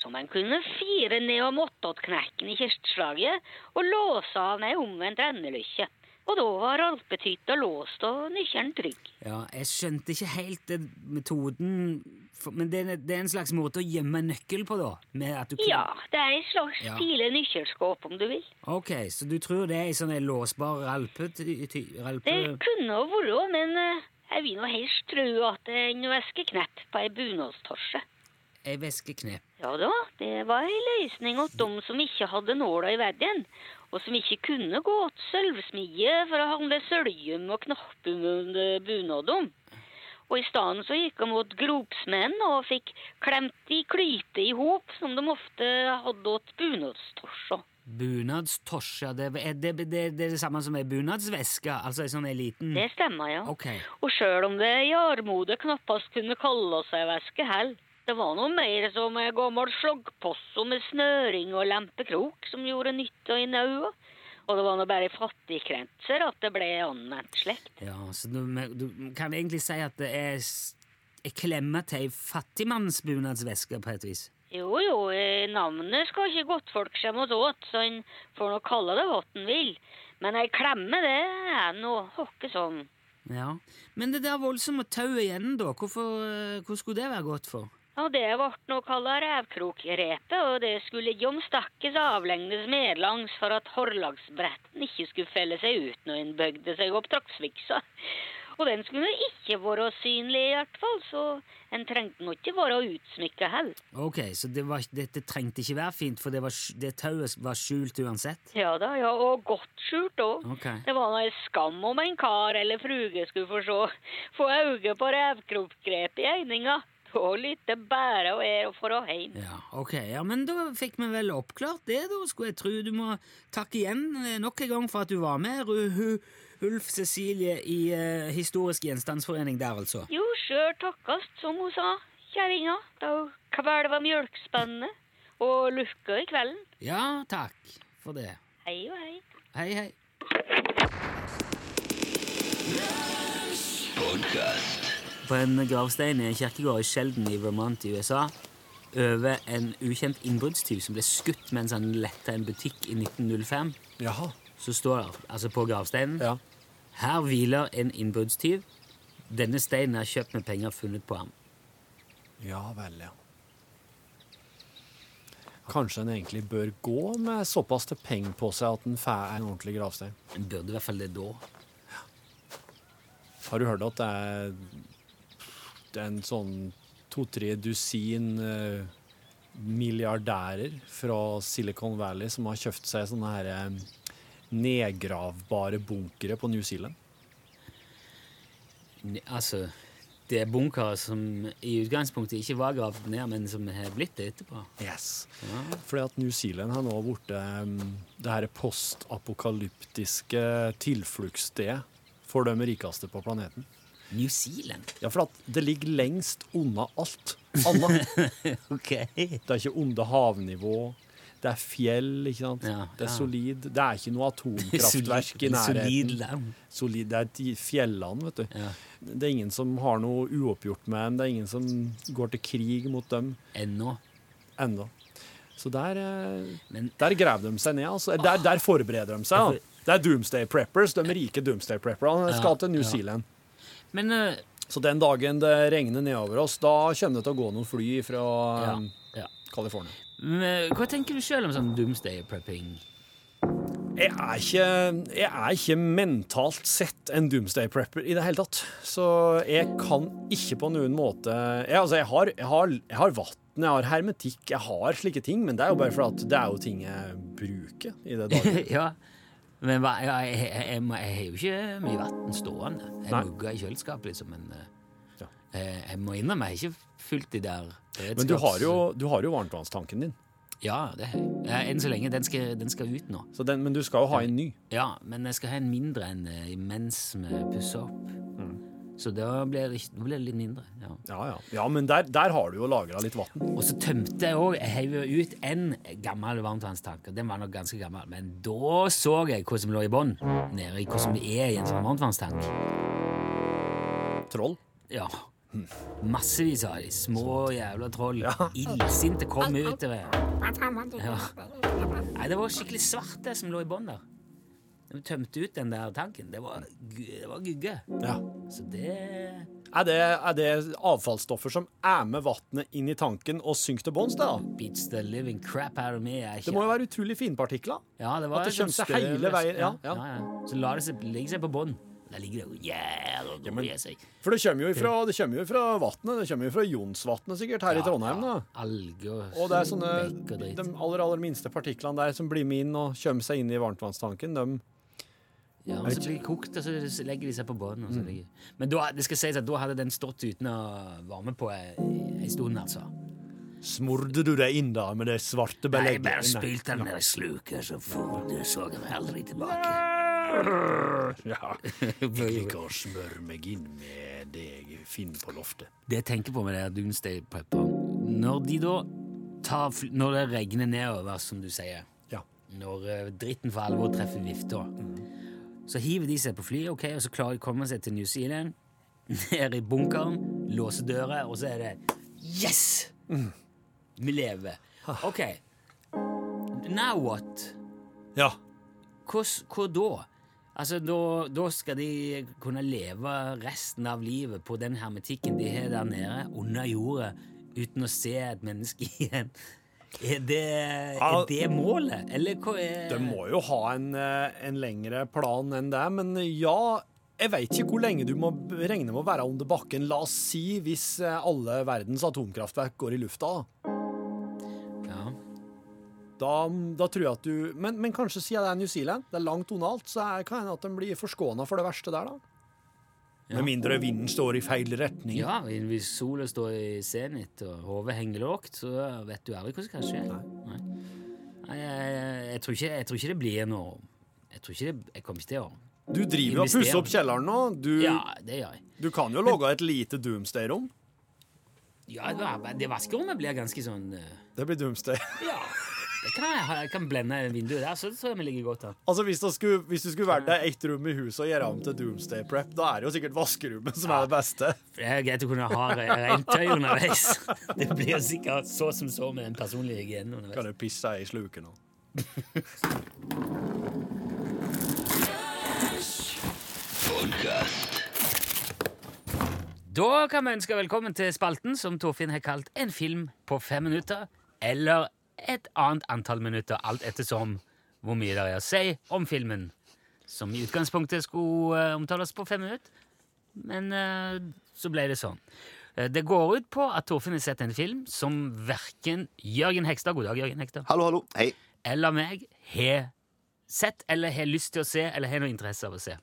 Speaker 1: som en kunne fire ned om åttåttknekken i kirsteslaget og låse av med ei omvendt endelykke. Og da var ralpetyta låst og nøkkelen trygg.
Speaker 2: ja jeg skjønte ikke helt den metoden, for, men det, er- det er en slags måte å gjemme en nøkkel på, da? Med at du kn-
Speaker 1: Ja, det er et slags
Speaker 2: Ja.
Speaker 1: tidlig nøkkelskap, om du vil.
Speaker 2: Ok, så du tror det er ei sånn ei låsbar ralpety... ty-
Speaker 1: Det
Speaker 2: ralpe...
Speaker 1: kunne ha vært, men eh, jeg vil nå helst tro at det er en veskeknepp på ei bunadstorse.
Speaker 2: Ei veskeknep.
Speaker 1: Ja da, det var ei løsning åt dem som ikke hadde nåla i veggen, og som ikke kunne gå til sølvsmie for å handle søljum og knappum under bunaden. Og i stedet så gikk hun mot gropsmenn og fikk klemt de klyte i hop, som de ofte hadde åt bunadstorsja.
Speaker 2: Bunadstosja, det, er- det, det, det er det samme som ei bunadsveske? Altså ei sånn ei liten
Speaker 1: Det stemmer, ja.
Speaker 2: Ok.
Speaker 1: Og sjøl om det i armode knappast kunne kalle seg væske hell, det var noe mer som ei gammel sloggposse med snøring og lempekrok som gjorde nytta i naua. Og det var nå bare i fattigkretser at det ble anvendt slekt.
Speaker 2: Ja, så du, du kan egentlig si at det er s- ei klemme til ei fattigmannsbunadsveske, på et vis?
Speaker 1: Jo, jo, eh, navnet skal ikke godtfolk skjemmes åt, så en får nå kalle det hva en vil. Men ei klemme, det er nå hokke sånn.
Speaker 2: Ja. Men det der voldsomme tauet i enden, da, hvorfor, eh, hvor skulle det være godt for?
Speaker 1: Ja, det ble nå kalla revkrokrepet, og det skulle ligge om stakkes avlengdes medlangs for at hårlagsbretten ikke skulle felle seg ut når en bøgde seg opp traktsviksa. Og den skulle ikke være synlig i hvert fall, så en trengte nå ikke være utsmykka heller.
Speaker 2: Ok, så det, var, det, det trengte ikke være fint, for det, var, sk- det tauet var skjult uansett?
Speaker 1: Ja da, ja, og godt skjult òg.
Speaker 2: Ok.
Speaker 1: Det var nå ei skam om en kar eller fruge skulle få se, få øye på revkrokgrepet i eininga. Da lytte bære og ære for å heim.
Speaker 2: Ja, ok. Ja, men da fikk vi vel oppklart det, da, skulle jeg tro. Du må takke igjen eh, nok en gang for at du var med, Ru- Hu- Ulf Cecilie i eh, Historisk gjenstandsforening der, altså.
Speaker 1: Jo, sjøl takkast, som hun sa, kjerringa. Da hun kvelva mjølkspennene og lukka i kvelden.
Speaker 2: Ja, takk for det.
Speaker 1: Hei og hei.
Speaker 2: Hei, hei. På en gravstein i en kirkegård i Sheldon i Vermont i USA over en ukjent innbruddstyv som ble skutt mens han letta en butikk i 1905,
Speaker 3: Jaha.
Speaker 2: så står det altså på gravsteinen
Speaker 3: Ja.
Speaker 2: Her hviler en innbruddstyv. Denne steinen er kjøpt med penger funnet på ham.
Speaker 3: Ja vel, ja. Kanskje en egentlig bør gå med såpass til penger på seg at en får en ordentlig gravstein.
Speaker 2: En burde i hvert fall det da.
Speaker 3: Har du hørt at det er, det er en sånn to-tre dusin eh, milliardærer fra Silicon Valley som har kjøpt seg sånne her eh, nedgravbare bunkere på New Zealand?
Speaker 2: Ne- Altså, det er bunkere som i utgangspunktet ikke var gravd ned, men som har blitt det etterpå.
Speaker 3: Yes. Fordi at New Zealand har nå blitt eh, det her postapokalyptiske tilfluktsstedet for de rikeste på planeten.
Speaker 2: New Zealand?
Speaker 3: Ja, for at det ligger lengst unna alt. Annet.
Speaker 2: Ok.
Speaker 3: Det er ikke onde havnivå. Det er fjell, ikke sant?
Speaker 2: Ja,
Speaker 3: Det er
Speaker 2: ja.
Speaker 3: solid. Det er ikke noe atomkraftverk i
Speaker 2: Solid
Speaker 3: nærheten.
Speaker 2: land.
Speaker 3: Solid. Det er de fjellene, vet du.
Speaker 2: Ja.
Speaker 3: Det er ingen som har noe uoppgjort med dem. Det er ingen som går til krig mot dem
Speaker 2: Ennå.
Speaker 3: ennå. Så der, eh,
Speaker 2: Men-
Speaker 3: der graver de seg ned. Altså. Der, der forbereder de seg. Da. Det er Doomsday Preppers, de rike Doomsday Prepperne
Speaker 2: Ja,
Speaker 3: skal til New
Speaker 2: ja.
Speaker 3: Zealand.
Speaker 2: Men eh,
Speaker 3: Så den dagen det regner nedover oss, da kommer det til å gå noen fly fra
Speaker 2: ja.
Speaker 3: eh,
Speaker 2: ja.
Speaker 3: California.
Speaker 2: Men, eh, Hva tenker du sjøl om sånn doomsday prepping?
Speaker 3: Jeg er, ikke, jeg er ikke mentalt sett en doomsday prepper i det hele tatt. Så jeg kan ikke på noen måte Jeg, altså, jeg har, jeg har, jeg har vann, jeg har hermetikk, jeg har slike ting, men det er jo bare fordi at det er jo ting jeg bruker i det daglige.
Speaker 2: ja. Men hva, ja, jeg, jeg, jeg, må- jeg har jo ikke mye vann stående.
Speaker 3: Nei.
Speaker 2: Jeg mugger i kjøleskapet, liksom. Men eh,
Speaker 3: Ja.
Speaker 2: eh, jeg må innrømme jeg har ikke fylt de der
Speaker 3: Men du har jo,
Speaker 2: beredskaps-
Speaker 3: du har jo varmtvannstanken din,
Speaker 2: Ja, det har jeg. Eh, Enn så lenge. Den skal, den skal ut nå.
Speaker 3: så den, men du skal jo ha en ny.
Speaker 2: Ja, men jeg skal ha en mindre enn eh, mens vi pusser opp. Så da blir det, ikke- da blir det litt mindre. ja.
Speaker 3: Ja, ja. ja men der, der har du jo lagra litt vann.
Speaker 2: Og så tømte jeg òg, jeg heiv jo ut en gammel varmtvannstank, og den var nok ganske gammel, men da så jeg hva som lå i bånn, nede i hva som er i en sånn varmtvannstank.
Speaker 3: Troll.
Speaker 2: Ja. Massevis av de små jævla troll. Illsinte kom utover. Ja. Nei, det var skikkelig svart, det som lå i bånn der. De tømte ut den der tanken. Det var, gu- det var gugge.
Speaker 3: Ja.
Speaker 2: Så det
Speaker 3: Er det, er det avfallsstoffer som er med vannet inn i tanken og synker til bunns? det da?
Speaker 2: beats the living crap out of me. Jeg er
Speaker 3: Det
Speaker 2: ikke-
Speaker 3: må jo være utrolig finpartikler.
Speaker 2: Ja, det var
Speaker 3: At det
Speaker 2: sånn
Speaker 3: kommer seg
Speaker 2: støv,
Speaker 3: hele veien, ja,
Speaker 2: nesten. Ja, ja. Så la det seg, legge seg på bånn. Der ligger det jo jævla
Speaker 3: Ja,
Speaker 2: god
Speaker 3: men-
Speaker 2: i seg.
Speaker 3: For det kommer jo ifra, det kommer jo ifra vattnet. Det kommer jo fra Jonsvatnet sikkert her i Trondheim. da.
Speaker 2: Alger og,
Speaker 3: Og det er sånne,
Speaker 2: bekk og
Speaker 3: de
Speaker 2: dritt.
Speaker 3: aller, aller minste partiklene der som blir med inn og kommer seg inn i varmtvannstanken, de
Speaker 2: Ja, og så blir det kokt, og så legger de seg på båten. Og
Speaker 3: Mm.
Speaker 2: så ligger- Men da, det skal sies at da hadde den stått uten å varme på ei stund, altså.
Speaker 3: Smurte du deg inn da med det svarte
Speaker 2: Nei, jeg
Speaker 3: belegget?
Speaker 2: bare spylte den ned i sluket, så for- det så jeg aldri tilbake.
Speaker 3: Ja. Jeg liker å smøre meg inn med det jeg finner på loftet.
Speaker 2: Det jeg tenker på med det her Doomsday Prepper Når de da tar, fl- Når det regner nedover, som du sier
Speaker 3: Ja.
Speaker 2: Når eh, dritten for alvor treffer vifta Så hiver de seg på flyet Ok, og så klarer de å komme seg til New Zealand Ned i bunkeren Låser døra, og så er det Yes! Vi lever Ok Now what?
Speaker 3: Ja.
Speaker 2: Hva, s- hva da? Altså, da, da skal de kunne leve resten av livet på den hermetikken de har der nede, under jordet, uten å se et menneske igjen. Er det, er
Speaker 3: Ja.
Speaker 2: det målet, eller hva er
Speaker 3: De må jo ha en, eh, en lengre plan enn det, men ja Jeg veit ikke hvor lenge du må b- regne med å være under bakken. La oss si hvis eh, alle verdens atomkraftverk går i lufta.
Speaker 2: Ja.
Speaker 3: Da, da tror jeg at du Men, men kanskje siden det er New Zealand, det er langt unna alt, så er- kan hende at de blir forskåna for det verste der, da. Med mindre vinden står i feil retning.
Speaker 2: ja, hvis sola står i senit og hodet henger lågt, så vet du aldri hva som kan skje. Nei. Nei, jeg, jeg, jeg, tror ikke, jeg tror ikke det blir noe Jeg tror ikke det, jeg kommer ikke til å
Speaker 3: Du driver og pusser opp kjelleren nå. Du,
Speaker 2: Ja, det gjør jeg.
Speaker 3: du kan jo lage et lite doomsday-rom.
Speaker 2: Ja, det, var- det vaskerommet blir ganske sånn eh,
Speaker 3: Det blir doomsday.
Speaker 2: Ja, det kan jeg, ha- jeg kan blende vinduet der, så tror jeg vi ligger godt an.
Speaker 3: Altså Hvis det skulle, hvis du skulle vært deg ett rom i huset og gjøre om til Doomsday Prep, da er det jo sikkert vaskerommet som er det beste.
Speaker 2: For Det er greit å kunne ha re- rent tøy underveis. Det blir sikkert så som så med den personlige hygienen
Speaker 3: Kan
Speaker 2: underveis.
Speaker 3: du pisse i sluket nå?
Speaker 2: Da kan vi ønske velkommen til spalten som Torfinn har kalt En film på fem minutter, eller et annet antall minutter, alt ettersom hvor mye det er å si om filmen, som i utgangspunktet skulle eh, omtales på fem minutter. Men eh, så ble det sånn. Eh, det går ut på at Torfinn har sett en film som verken Jørgen Hekstad God dag, Jørgen Hekstad.
Speaker 7: Hallo, hallo. Hei.
Speaker 2: eller meg har sett eller har lyst til å se eller har noe interesse av å se.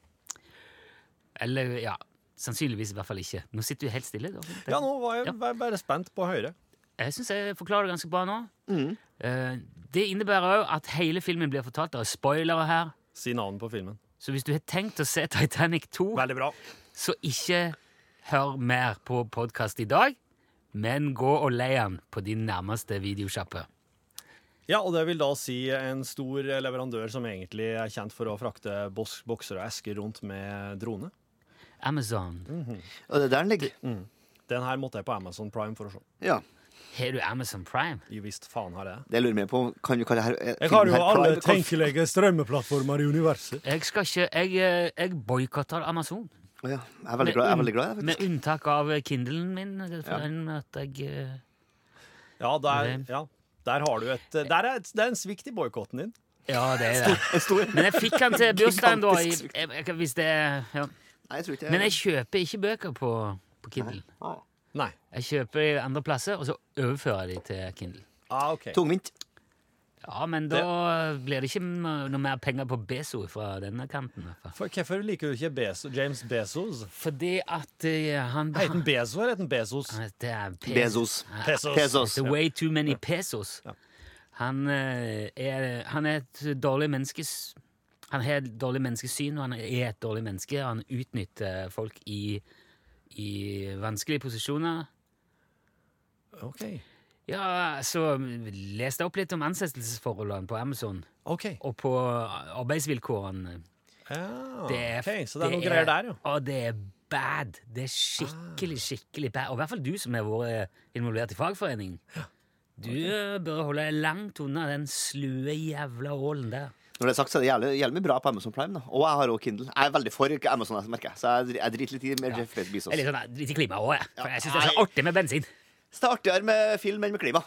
Speaker 2: Eller ja, sannsynligvis i hvert fall ikke. Nå sitter du helt stille. Da.
Speaker 3: Ja, nå var jeg
Speaker 2: Ja.
Speaker 3: var jeg bare spent på å høre.
Speaker 2: Jeg syns jeg forklarer det ganske bra nå. Eh, det innebærer òg at hele filmen blir fortalt. Det er spoilere her.
Speaker 3: Si navnet på filmen.
Speaker 2: Så hvis du har tenkt å se Titanic 2,
Speaker 3: Oh. Veldig bra.
Speaker 2: så ikke hør mer på podkast i dag, men gå og leie den på din nærmeste videosjappe.
Speaker 3: Ja, og det vil da si en stor leverandør som egentlig er kjent for å frakte boks, bokser og esker rundt med drone.
Speaker 2: Amazon.
Speaker 7: Og det er der den ligger.
Speaker 3: Den her måtte jeg på Amazon Prime for å se.
Speaker 7: Ja.
Speaker 2: Har du Amazon Prime?
Speaker 3: I visst faen har jeg det.
Speaker 7: Det jeg lurer meg på, kan vi kalle det her eh,
Speaker 3: Jeg har
Speaker 7: filmen
Speaker 3: jo
Speaker 7: her
Speaker 3: alle
Speaker 7: Prime- kan-
Speaker 3: tenkelige strømmeplattformer i universet.
Speaker 2: Jeg skal ikke Jeg, eh, jeg boikotter Amazon.
Speaker 7: Å Ja, jeg er veldig glad, jeg er veldig glad i det,
Speaker 2: Med
Speaker 7: faktisk.
Speaker 2: unntak av eh, Kindlen min. eh, For den at jeg eh,
Speaker 3: Ja, der, ja, der har du et der er, Det er en svikt i boikotten din.
Speaker 2: Ja, det er det.
Speaker 7: En stor
Speaker 2: Men jeg fikk den til bursdagen, da. I,
Speaker 7: Gigantisk.
Speaker 2: jeg, jeg, hvis det ja.
Speaker 7: Nei, jeg tror ikke
Speaker 2: Men jeg kjøper ikke bøker på, på Kindle.
Speaker 3: Nei.
Speaker 2: Jeg kjøper i andre plasser, og så overfører jeg de til Kindle.
Speaker 3: Ah, ok.
Speaker 7: Tungvint.
Speaker 2: Ja, men da blir det ikke noe mer penger på Bezo fra denne kanten. i hvert fall.
Speaker 3: For, hvorfor liker du ikke Bezo, James Bezos?
Speaker 2: Fordi at eh, han
Speaker 3: Heter han Bezo eller heter han Bezos?
Speaker 2: Det er pes-
Speaker 7: Bezos.
Speaker 3: Pesos.
Speaker 7: Pesos.
Speaker 2: The way too many pesos. Han, eh, er, han er et dårlig menneskes... Han har et dårlig menneskesyn, og han er et dårlig menneske. Han utnytter folk i, i vanskelige posisjoner.
Speaker 3: Ok.
Speaker 2: Ja, så leste jeg opp litt om ansettelsesforholdene på Amazon,
Speaker 3: Ok.
Speaker 2: og på arbeidsvilkårene.
Speaker 3: Ja,
Speaker 2: Det er,
Speaker 3: ok, Så det er noen greier der, Ah. ja.
Speaker 2: Og det er bad. Det er skikkelig, skikkelig bad. Og i hvert fall du som har vært involvert i fagforeningen. Du eh, bør holde deg langt unna den slue jævla ålen der.
Speaker 7: Når det er sagt, så er det jævlig, jævlig mye bra på Amazon Prime. da Og jeg har også Kindle. Jeg er veldig for ikke Amazon, jeg merker jeg. Så jeg, dri- jeg driter litt i med Jeff Bezos.
Speaker 2: Jeg er litt sånn, eh, litt i klimaet òg, jeg. For jeg syns det er
Speaker 7: Nei.
Speaker 2: så artig med bensin.
Speaker 7: Så det er artigere med film enn med klima.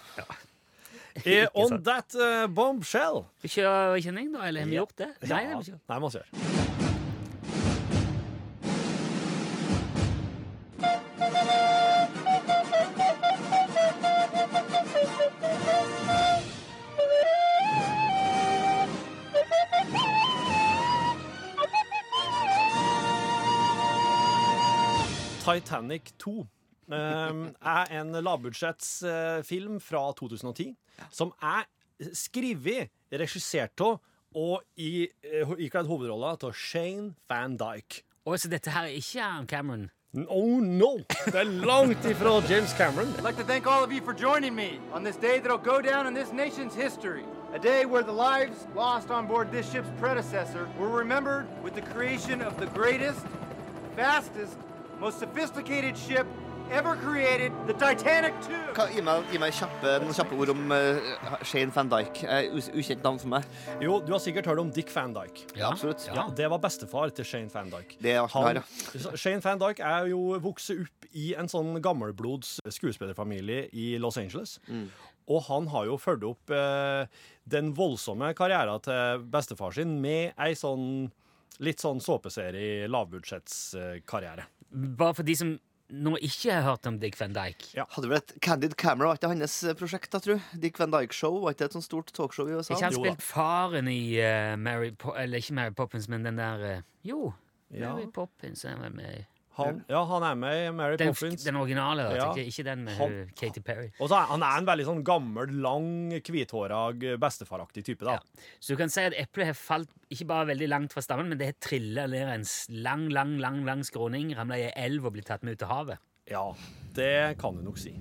Speaker 3: Eh, On that eh, bombshell.
Speaker 2: Vi kjører kjenning, da? Eller har vi gjort det? Nei, det har vi
Speaker 3: Ja.
Speaker 2: ikke.
Speaker 3: Nei, masse gjør. Titanic 2 eh, er en lavbudsjettsfilm eh, fra 2010 som er skrevet, regissert av og i, eh, ikledd hovedrolla av Shane Van Dyke.
Speaker 2: Å, så dette her er ikke Aaron Cameron.
Speaker 3: Oh no! Det er langt ifra James Cameron.
Speaker 8: I'd like to thank all of you for joining me on this day that'll go down in this nation's history. A day where the lives lost on board this ship's predecessor were remembered with the creation of the greatest, fastest, most sophisticated ship ever created, the Titanic 2.
Speaker 7: Hva, gi meg, gi meg kjappe, noen kjappe ord om eh, Shane van Dijk. Eh, us- ukjent navn for meg.
Speaker 3: Jo, du har sikkert hørt om Dick Van Dyke.
Speaker 2: Ja,
Speaker 7: absolutt.
Speaker 3: Ja, det var bestefar til Shane Van Dyke.
Speaker 7: Det er artig
Speaker 3: Han-
Speaker 7: her,
Speaker 3: Shane Van Dyke er jo vokst opp i en sånn gammelblods skuespillerfamilie i Los Angeles. Og han har jo fulgt opp eh, den voldsomme karrieren til bestefar sin med ei sånn litt sånn såpeserie lavbudsjettskarriere.
Speaker 2: Bare for de som nå ikke har hørt om Dick Van Dyke.
Speaker 7: Hadde vel et Candid Camera, var ikke det hans eh, prosjekt, da, tru? Dick Van Dyke-show, var ikke det et sånt stort talkshow i USA?
Speaker 2: Ikke han
Speaker 3: Jo da.
Speaker 2: spilt faren i eh, Mary po Eller ikke Mary Poppins, men den der eh, Jo,
Speaker 3: Ja.
Speaker 2: Mary Poppins er vel med i-
Speaker 3: Han, ja, han er med i Mary
Speaker 2: den,
Speaker 3: Poppins.
Speaker 2: den originale, da,
Speaker 3: Ja.
Speaker 2: tenker jeg. Ikke den med
Speaker 3: Han-
Speaker 2: hun Katy Perry.
Speaker 3: Og så er, han er en veldig sånn gammel, lang, hvithåra, bestefaraktig type, da.
Speaker 2: Så du kan si at eplet har falt ikke bare veldig langt fra stammen, men det har trilla ned en s- lang, lang, lang lang skråning, ramla i ei elv og blitt tatt med ut til havet.
Speaker 3: Ja, det kan du nok si.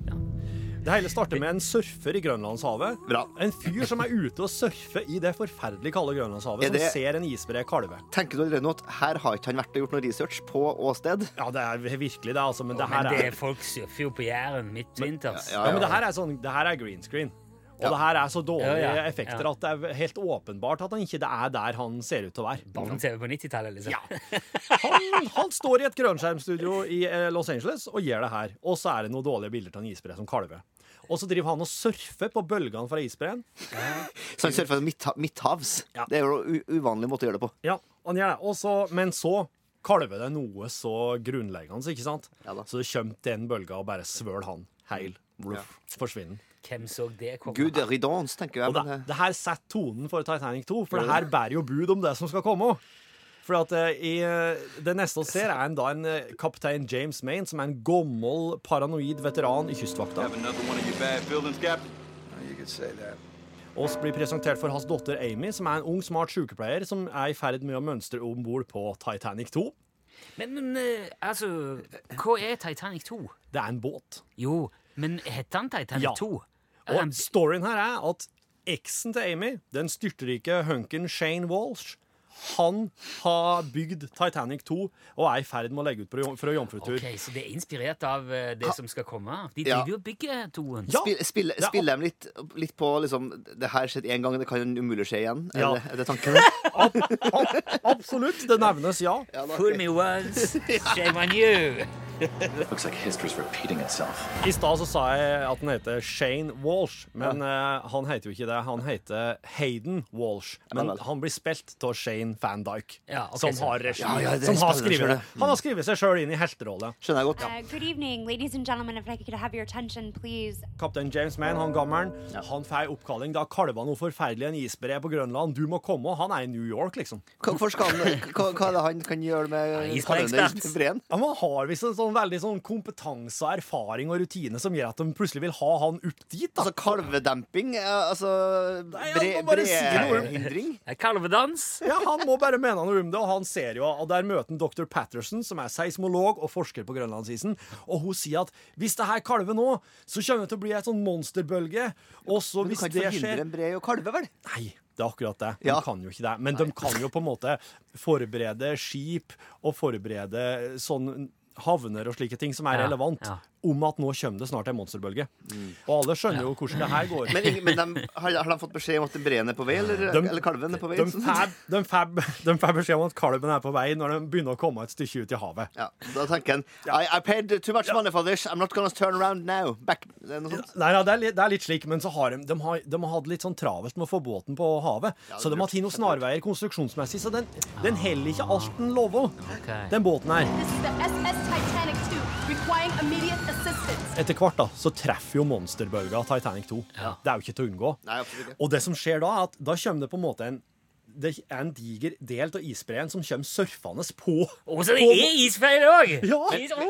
Speaker 3: Det hele starter med en surfer i Grønlandshavet.
Speaker 7: Bra.
Speaker 3: En fyr som er ute og surfer i det forferdelig kalde Grønlandshavet,
Speaker 7: Er det-
Speaker 3: som ser en isbre kalve.
Speaker 7: Tenker du allerede nå at her har ikke han vært og gjort noe research på åsted?
Speaker 3: Ja, det er virkelig det, altså, men det her
Speaker 2: Men det
Speaker 3: er,
Speaker 2: er folk surfer jo på Jæren midtvinters.
Speaker 7: Ja,
Speaker 3: ja, men
Speaker 7: ja.
Speaker 3: det her er, sånn, det her er green screen. Og
Speaker 7: Ja.
Speaker 3: det her er så dårlige
Speaker 2: Ja, ja,
Speaker 3: effekter
Speaker 2: ja.
Speaker 3: at det er helt åpenbart at han ikke det er der han ser ut til å være.
Speaker 2: Barne-TV på 90-tallet, liksom.
Speaker 3: Ja. Han, han står i et grønnskjermstudio i eh, Los Angeles og gjør det her. Og så er det noen dårlige bilder av en isbre som kalver. Og så driver han og surfer på bølgene fra isbreen.
Speaker 7: Så han surfer midt, midthavs.
Speaker 3: Ja.
Speaker 7: Det er jo en u- uvanlig måte å gjøre det på.
Speaker 3: Ja, han gjør det. Og så- men så kalver det noe så grunnleggende, ikke sant?
Speaker 7: Ja da.
Speaker 3: så det kommer den bølga og bare svøl han heil. Bluff, Forsvinner.
Speaker 2: Hvem så det komme?
Speaker 7: Gud ridans, tenker jeg.
Speaker 3: Og
Speaker 7: Men, eh,
Speaker 3: det, det her setter tonen for Titanic 2, for det her bærer jo bud om det som skal komme. For at eh, i, eh, Det neste vi ser, er en, da en eh, kaptein James Maine, som er en gammel, paranoid veteran i Kystvakta.
Speaker 8: Another one of your bad feelings, Captain?
Speaker 3: Oss blir presentert for hans datter Amy, som er en ung, smart sykepleier som er i ferd med å mønstre om bord på Titanic 2.
Speaker 2: Men, men eh, altså Hva er Titanic 2?
Speaker 3: Det er en båt.
Speaker 2: Jo, men heter han Titanic
Speaker 3: Ja.
Speaker 2: 2? Er han-
Speaker 3: Og storyen her er at eksen til Amy, den styrterike hunken Shane Walsh, han har bygd Titanic 2 og er i ferd med å legge ut på jom- fra jomfrutur.
Speaker 2: Ok, Så det er inspirert av eh, det som skal komme? De
Speaker 7: Ja.
Speaker 2: driver jo og bygger toen.
Speaker 3: Ja,
Speaker 7: Spill- spill-
Speaker 3: det er-
Speaker 7: Spiller de litt, litt på liksom Det her skjedde én gang, det kan umulig skje igjen?
Speaker 3: Ja.
Speaker 7: Er, det, er det tanken?
Speaker 3: Absolutt, det nevnes, ja.
Speaker 2: Fool me once, shame on you.
Speaker 9: Looks like history's repeating itself.
Speaker 3: I stad så sa jeg at han heter Shane Walsh, men eh, han heter jo ikke det. Han heter Hayden Walsh, men
Speaker 7: Vel, vel.
Speaker 3: han blir spilt av Shane Van Dyke,
Speaker 2: Ja, ok,
Speaker 3: som
Speaker 2: så-
Speaker 3: har regi.
Speaker 7: Ja, ja, det
Speaker 3: som har
Speaker 7: spiller seg
Speaker 3: skrevet det.
Speaker 7: selv, det.
Speaker 3: Han har skrevet seg sjøl inn i helterolle.
Speaker 7: Skjønner jeg godt.
Speaker 10: Uh, good evening, ladies and gentlemen. If I could have your attention, please.
Speaker 3: Kaptein James Mann, han gammelen, han får ei oppkalling. Da kalva noe forferdelig en isbre på Grønland. Du må komme. og Han er i New York, liksom.
Speaker 7: Hva, hvorfor skal han, hva, hva er det han kan gjøre med
Speaker 2: isbreekspert.
Speaker 7: kalenderen i breen?
Speaker 3: Ja, men Han har visst en sånn veldig sånn kompetanse, erfaring og rutine som gjør at de plutselig vil ha han opp dit. da.
Speaker 7: Altså kalvedemping? eh, Altså
Speaker 3: Nei,
Speaker 7: bre,
Speaker 3: han må bare si noe.
Speaker 7: brehindring?
Speaker 2: Det er Kalvedans.
Speaker 3: Ja, Han må bare mene noe om det, og han ser jo Og der møter han dr. Patterson, som er seismolog og forsker på grønlandsisen. Og hun sier at hvis det her kalver nå, så kommer det til å bli ei sånn monsterbølge. Og så
Speaker 7: Men du
Speaker 3: hvis
Speaker 7: kan ikke
Speaker 3: det
Speaker 7: forhindre
Speaker 3: skjer
Speaker 7: en bre å kalve, vel?
Speaker 3: Nei, det er akkurat det. De
Speaker 7: Ja.
Speaker 3: kan jo ikke det. Men de kan jo på en måte forberede skip og forberede sånn havner og slike ting som er
Speaker 2: Ja,
Speaker 3: relevant,
Speaker 2: ja.
Speaker 3: om at nå kommer det snart en monsterbølge. Og alle skjønner jo hvordan det her går.
Speaker 7: Men, ingen- men de, har, har de fått beskjed om at breen er på vei, eller,
Speaker 3: De-
Speaker 7: eller kalven er på vei? Sånn.
Speaker 3: De får de fab, de fab beskjed om at kalven er på vei når de begynner å komme et stykke ut i havet.
Speaker 7: Ja, da tenker han I, I paid too much money for this. I'm not gonna turn around now. Back Det er noe sånt.
Speaker 3: Nei, ja, det, er litt, det er litt slik, men så har de, de, har, de har hatt litt sånn travelt med å få båten på havet.
Speaker 7: Ja,
Speaker 3: så de har tatt noen snarveier konstruksjonsmessig, så den, den heller ikke alt den lover,
Speaker 2: Ok.
Speaker 3: den båten her.
Speaker 11: This is the SS Titanic 2, requiring immediate assistance.
Speaker 3: Etter hvert da, så treffer jo monsterbølga Titanic 2. Det er jo ikke til å unngå.
Speaker 7: Nei, absolutt ikke.
Speaker 3: Og det som skjer da, er at da kommer det på en måte en det er en diger del av isbreen som kommer surfende på.
Speaker 2: Og så det er isfeil òg!
Speaker 3: Ja!
Speaker 2: Is, oh,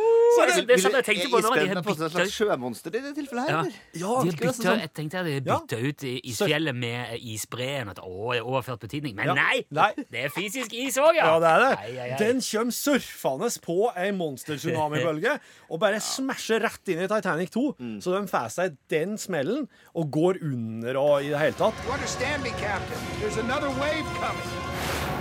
Speaker 2: er det- det er sånn jeg tenkte på nå, de
Speaker 7: Isbjørnen er
Speaker 2: har
Speaker 7: på en
Speaker 2: byttet-
Speaker 7: slags sjømonster i det tilfellet
Speaker 2: Ja.
Speaker 7: her.
Speaker 2: de har
Speaker 7: virker det
Speaker 2: bytta,
Speaker 7: som-
Speaker 2: jeg tenkte at de bytta ut i- isfjellet med isbreen. At, å, det er overført betydning. Men
Speaker 3: Ja.
Speaker 2: nei! Det er fysisk is òg, ja!
Speaker 3: Ja, det er det.
Speaker 2: Ai, ai, ai.
Speaker 3: Den kommer surfende på ei monster-tsunamibølge og bare smasher rett inn i Titanic 2. Så de får seg den smellen og går under og i det hele tatt.
Speaker 12: You understand me, Captain? There's another wave coming.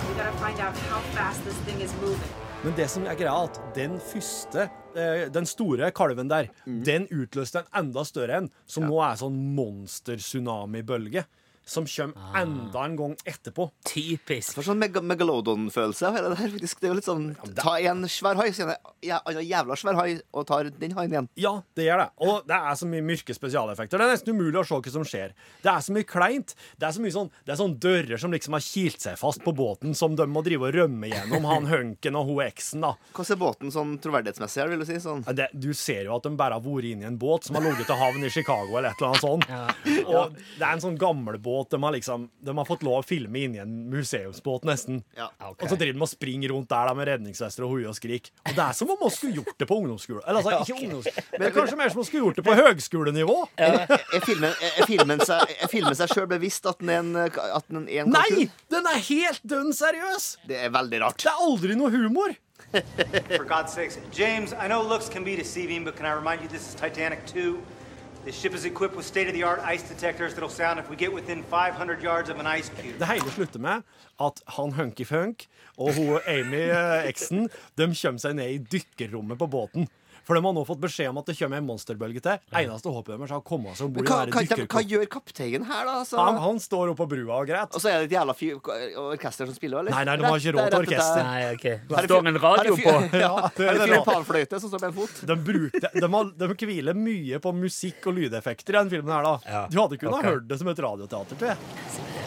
Speaker 13: We gotta find out how fast this thing is moving.
Speaker 3: Men det som er greia, er at den første, eh, den store kalven der, den utløste en enda større en, som nå er sånn monster-tsunamibølge. Som kommer enda en gang etterpå.
Speaker 2: Typisk.
Speaker 7: For sånn meg megalodon-følelse av hele det her, faktisk. Det er jo litt sånn Ta en svær hai, sier jeg. Ja, en jævla svær hai, og tar den haien igjen.
Speaker 3: Ja, det gjør det. Og det er så mye mørke spesialeffekter. Det er nesten umulig å se hva som skjer. Det er så mye kleint. Det er så mye sånn, det er sånn dører som liksom har kilt seg fast på båten, som de må drive og rømme gjennom, han hunken og hun eksen, da.
Speaker 7: Hvordan er båten sånn troverdighetsmessig her, vil du si? Sånn.
Speaker 3: Ja, Det, du ser jo at de bare har vært inn i en båt som har ligget til havn i Chicago eller et eller annet sånt. Og det er en sånn gamlebåt. De har liksom De har fått lov å filme inni en museumsbåt, nesten. Og så driver de og springer rundt der da, med redningsvester og hoie og skrik. Og det er som om man skulle gjort det på ungdomsskolen. Eller altså,
Speaker 7: Ja,
Speaker 3: ikke
Speaker 7: ok.
Speaker 3: ungdomsskolen, men det er kanskje mer som om man skulle gjort det på høgskolenivå.
Speaker 7: Er, er, filmen, er, er filmen seg, er filmen seg sjøl bevisst at den er en, at den er en
Speaker 3: Nei!
Speaker 7: kalkun?
Speaker 3: Den er helt dønn seriøs!
Speaker 7: Det er veldig rart.
Speaker 3: Det er aldri noe humor.
Speaker 8: For God's sakes, James, I know looks can be deceiving, but can I remind you this is Titanic 2? The ship is equipped with state of the art ice detectors that'll sound if we get within 500 yards of an ice cube.
Speaker 3: Det hele slutter med at han Hunky Funk og hun Amy, eh, eksen, de kommer seg ned i dykkerrommet på båten. For de har nå fått beskjed om at det kommer en monsterbølge til. Eneste håpet deres er å komme seg om
Speaker 7: Men
Speaker 3: bord i
Speaker 7: hva,
Speaker 3: det
Speaker 7: hva,
Speaker 3: her
Speaker 7: hva
Speaker 3: dykkerkopet.
Speaker 7: gjør kapteinen her, da? altså?
Speaker 3: Han, han står oppe på brua og græter.
Speaker 12: Altså-
Speaker 7: Og så er det et jævla fyr, orkester som spiller, eller?
Speaker 3: Nei, nei, de har ikke råd til orkester.
Speaker 7: Her er fyr- her er fyr- her
Speaker 3: Ja, det er
Speaker 7: er
Speaker 3: det
Speaker 7: fyr med
Speaker 3: da.
Speaker 7: panfløyte sånn som står med en fot.
Speaker 3: De, brukte, de, har, de hviler mye på musikk og lydeffekter i den filmen her, da. Du hadde kunnet
Speaker 2: ok.
Speaker 3: ha hørt det som et radioteater, tror jeg.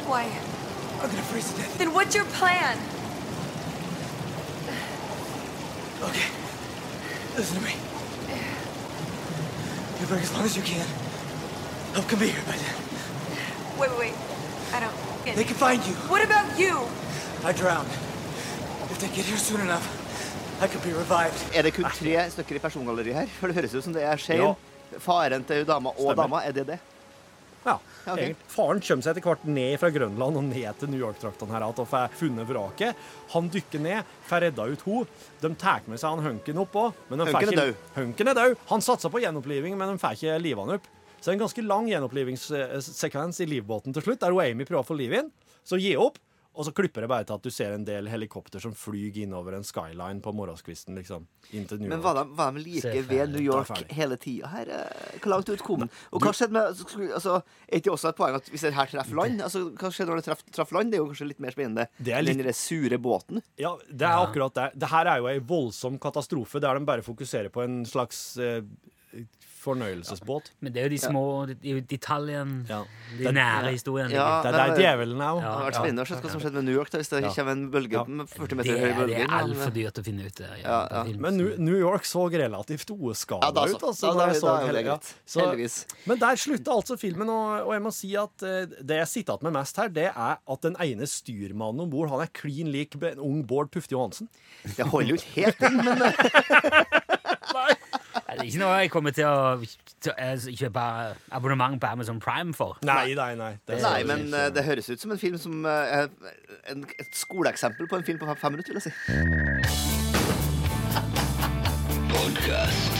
Speaker 11: Why? I'm gonna freeze to death. Then what's your plan?
Speaker 12: Okay. Listen to me. You break as long as you can. Help can be here by then.
Speaker 11: Wait, wait, wait. I don't get
Speaker 12: They can find you.
Speaker 11: What about you?
Speaker 12: I drowned. If they get here soon enough, I could be revived.
Speaker 7: Er det kun tre stykker i persongalleriet her? For det høres ut som det er Shane,
Speaker 3: Ja.
Speaker 7: faren til dama og
Speaker 3: Stemmer.
Speaker 7: dama. Er det det?
Speaker 3: Ja,
Speaker 7: ok.
Speaker 3: egentlig. Faren kommer seg etter hvert ned fra Grønland og ned til New York-traktene her igjen og får funnet vraket. Han dykker ned, får redda ut henne. De tar med seg han hunken opp òg.
Speaker 7: Hunken er død.
Speaker 3: Hunken er død. Han satsa på gjenoppliving, men de får ikke livet han opp. Så det er en ganske lang gjenopplivingssekvens i livbåten til slutt, der hun Amy prøver å få livet inn. Så gi opp. Og så klipper det bare til at du ser en del helikopter som flyr innover en skyline på morgenskvisten. liksom. Inn til New York.
Speaker 7: Men var de, var de like
Speaker 3: Se ferdig.
Speaker 7: ved New York
Speaker 3: Ta ferdig.
Speaker 7: hele tida her? eh? Hvor langt ut kom den? Og hva skjedde med skulle- altså, Er ikke også et poeng at hvis det her treffer land? Altså, Hva skjedde når det treff, traff land? Det er jo kanskje litt mer spennende
Speaker 3: Det er
Speaker 7: enn
Speaker 3: litt-
Speaker 7: den der sure båten.
Speaker 3: Ja, det er akkurat det. Det her er jo ei voldsom katastrofe der de bare fokuserer på en slags eh, fornøyelsesbåt.
Speaker 2: Men det er jo de små det er jo detaljen, de
Speaker 3: Det-
Speaker 2: nære historiene.
Speaker 7: Ja,
Speaker 3: det er
Speaker 7: men-
Speaker 3: der djevelen er. jo.
Speaker 7: Det hadde vært spennende å se hva som skjedde med New York da, hvis det
Speaker 3: Ja.
Speaker 7: kommer en bølge med 40 meter
Speaker 2: Det
Speaker 7: høy
Speaker 2: er,
Speaker 7: bølge.
Speaker 2: det er
Speaker 7: men-
Speaker 2: altfor dyrt å finne ut. det, Ja,
Speaker 7: Ja, ja.
Speaker 2: på film.
Speaker 3: Men New, New York så relativt oskada
Speaker 7: Ja, da så.
Speaker 3: ut. Altså,
Speaker 7: Da- da-
Speaker 3: da jeg
Speaker 7: da
Speaker 3: så
Speaker 7: er jo det
Speaker 3: hele- ja.
Speaker 7: greit.
Speaker 3: Så-
Speaker 7: Heldigvis.
Speaker 3: Men der slutta altså filmen, og, og jeg må si at eh, det jeg sitter igjen med mest her, det er at den ene styrmannen om bord, han er klin lik be- en ung Bård Tufte Johansen.
Speaker 7: Det holder jo ikke helt inn, men
Speaker 2: Nei, Det er ikke noe jeg kommer til å til å, eh, kjøpe abonnement på Amazon Prime for.
Speaker 3: Nei, nei, nei. Det,
Speaker 7: Nei, men eh, det høres ut som en film som eh, er en, Et skoleeksempel på en film på fem, fem minutter, vil jeg si.
Speaker 14: Podcast.